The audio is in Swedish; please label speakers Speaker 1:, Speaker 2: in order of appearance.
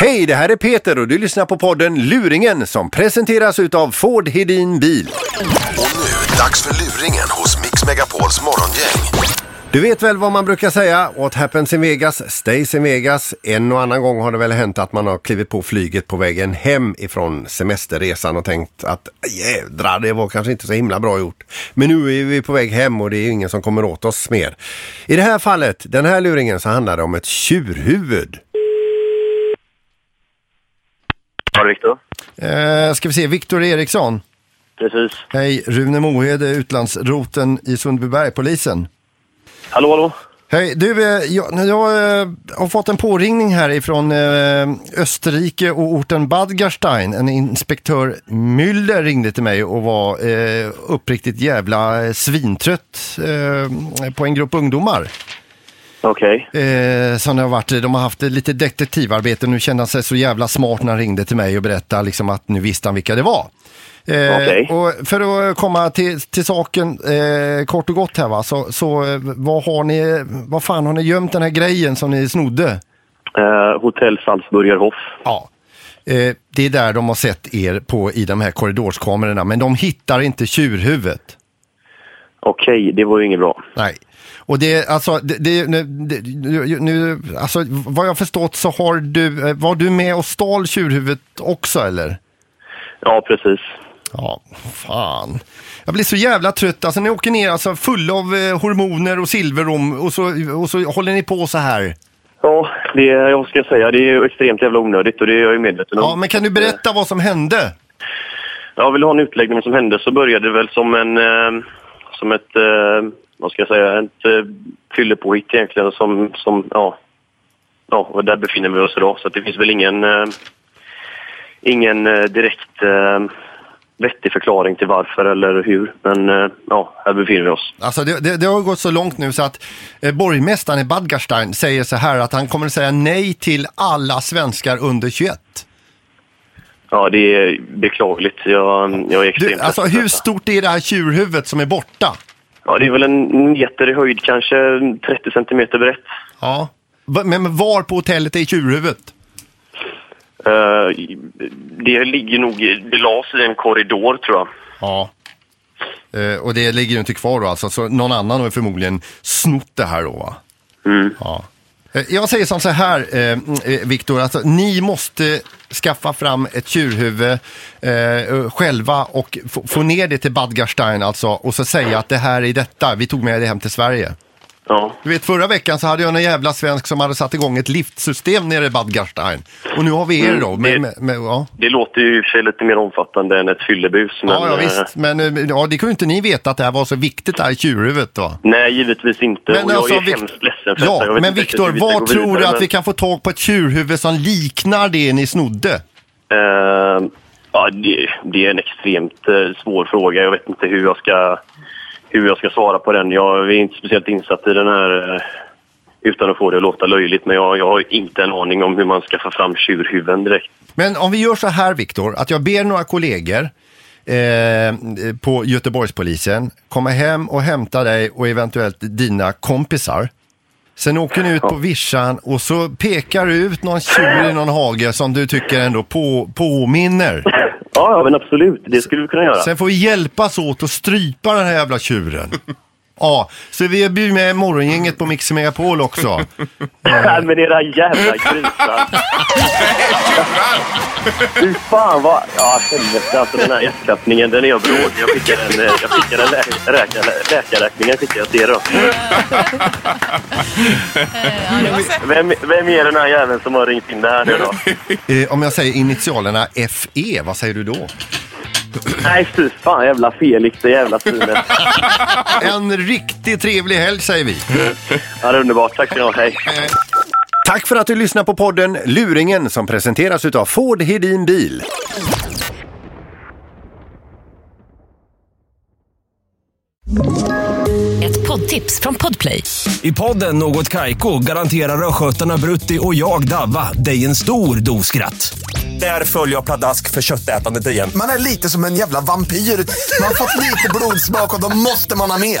Speaker 1: Hej, det här är Peter och du lyssnar på podden Luringen som presenteras utav Ford Hedin Bil.
Speaker 2: Och nu, dags för luringen hos Mix Megapols morgongäng.
Speaker 1: Du vet väl vad man brukar säga? What happens in Vegas stays in Vegas. En och annan gång har det väl hänt att man har klivit på flyget på vägen hem ifrån semesterresan och tänkt att jädrar, det var kanske inte så himla bra gjort. Men nu är vi på väg hem och det är ju ingen som kommer åt oss mer. I det här fallet, den här luringen, så handlar det om ett tjurhuvud.
Speaker 3: Ja, Viktor.
Speaker 4: Eh, ska vi se, Viktor Eriksson.
Speaker 3: Precis.
Speaker 4: Hej, Rune Mohede, utlandsroten i Sundbyberg, polisen.
Speaker 3: Hallå, hallå.
Speaker 4: Hej, du, eh, jag, när jag eh, har fått en påringning här ifrån eh, Österrike och orten Badgerstein. En inspektör Müller ringde till mig och var eh, uppriktigt jävla eh, svintrött eh, på en grupp ungdomar.
Speaker 3: Okej.
Speaker 4: Eh, som det har varit, de har haft lite detektivarbete. Nu kände han sig så jävla smart när han ringde till mig och berättade liksom att nu visste han vilka det var. Eh,
Speaker 3: Okej.
Speaker 4: och för att komma till, till saken eh, kort och gott här va, så, så eh, vad har ni, vad fan har ni gömt den här grejen som ni snodde?
Speaker 3: Eh, Hotell Salzburger Hof.
Speaker 4: Ja. Eh, det är där de har sett er på i de här korridorskamerorna, men de hittar inte tjurhuvudet.
Speaker 3: Okej, det var ju inget bra.
Speaker 4: Nej. Och det, alltså, det, det, nu- det, nu- nu, alltså, vad jag förstått så har du, eh, var du med och stal tjurhuvudet också eller?
Speaker 3: Ja, precis.
Speaker 4: Ja, fan. Jag blir så jävla trött. Alltså ni åker ner alltså, full av eh, hormoner och silverrom och så, och så håller ni på så här.
Speaker 3: Ja, det, jag ska säga, det är ju extremt jävla onödigt och det är jag ju medveten om.
Speaker 4: Ja, men kan du berätta vad som hände?
Speaker 3: Jag vill ha en utläggning om vad som hände så började det väl som en... Eh, som ett... Eh, vad ska jag säga? Ett eh, fyllepåhitt egentligen som... som ja. ja, och där befinner vi oss idag. Så att det finns väl ingen... Eh, ingen eh, direkt eh, vettig förklaring till varför eller hur. Men eh, ja, här befinner vi oss.
Speaker 4: Alltså det, det, det har gått så långt nu så att eh, borgmästaren i Badgerstein säger så här att han kommer att säga nej till alla svenskar under 21.
Speaker 3: Ja, det är beklagligt. Jag, jag är extremt
Speaker 4: Du, alltså
Speaker 3: ledsen.
Speaker 4: hur stort är det här tjurhuvudet som är borta?
Speaker 3: Ja, det är väl en meter i höjd, kanske 30 centimeter brett.
Speaker 4: Ja. Va- Men var på hotellet är tjurhuvudet?
Speaker 3: Eh, det ligger nog... Det lades i en korridor, tror jag.
Speaker 4: Ja. Eh, och det ligger ju inte kvar då alltså, så någon annan har ju förmodligen snott det här då va? Ja. Eh, Jag säger som så här, eh, eh, Viktor, alltså, ni måste skaffa fram ett tjurhuvud eh, själva och få- få ner det till Badgerstein alltså och så säga att det här är detta, vi tog med det hem till Sverige.
Speaker 3: Ja,
Speaker 4: Du vet förra veckan så hade jag en jävla svensk som hade satt igång ett liftsystem nere i Bad Gastein. Och nu har vi er då. Med, med, med, ja.
Speaker 3: det låter ju i och för sig lite mer omfattande än ett fyllebus. Men,
Speaker 4: ja, ja
Speaker 3: eh,
Speaker 4: visst. Men eh, ja, det kunde inte ni veta att det här var så viktigt det här tjurhuvudet va?
Speaker 3: Nej, givetvis inte.
Speaker 4: Men
Speaker 3: och jag
Speaker 4: alltså,
Speaker 3: är
Speaker 4: Vic-
Speaker 3: hemskt ledsen för detta. Jag
Speaker 4: Ja,
Speaker 3: vet
Speaker 4: men
Speaker 3: inte
Speaker 4: Viktor,
Speaker 3: riktigt hur
Speaker 4: vad
Speaker 3: vi ska gå
Speaker 4: tror du
Speaker 3: vidare,
Speaker 4: att vi kan få tag på ett tjurhuvud som liknar det ni snodde?
Speaker 3: men, eh, ja, det, det är en extremt eh, svår fråga. Jag vet inte hur jag ska, hur jag ska svara på den. Jag är inte speciellt insatt i den här eh, utan att få det att låta löjligt. Men jag, jag har inte en aning om hur man ska få fram tjurhuvuden direkt.
Speaker 4: Men om vi gör så här Viktor, att jag ber några kollegor eh, på Göteborgspolisen komma hem och hämta dig och eventuellt dina kompisar. Sen åker ni ut på vischan och så pekar du ut någon tjur i någon hage som du tycker ändå på, påminner.
Speaker 3: Ja, ja, men absolut. Det skulle vi kunna göra.
Speaker 4: Sen får vi hjälpas åt att strypa den här jävla tjuren. Ja, så vi bjuder med morgongänget på Mix Megapol också.
Speaker 3: Nej, men era jävla grisar. Fy fan vad... Ja, helvete alltså den här hjärtklappningen, den är jag bråd. Jag skickar en, eh, jag skickar en lä läkar läkarräkningen skickar jag till er då. Vem, vem är den här jäveln som har ringt in det här nu då?
Speaker 4: Eh, om jag säger initialerna FE, vad säger du då?
Speaker 3: Nej, fy fan jävla Felix, det jävla svinet.
Speaker 4: En riktigt trevlig helg säger vi.
Speaker 3: Ja, det är underbart. Tack ska ni ha. Hej.
Speaker 1: Tack för att du lyssnar på podden Luringen som presenteras utav Ford Hedin Bil.
Speaker 5: Ett poddtips från Podplay.
Speaker 6: I podden Något Kaiko garanterar östgötarna Brutti och jag, Davva, dig en stor dos skratt. Där följer jag pladask för köttätandet igen.
Speaker 7: Man är lite som en jävla vampyr. Man har fått lite blodsmak och då måste man ha mer.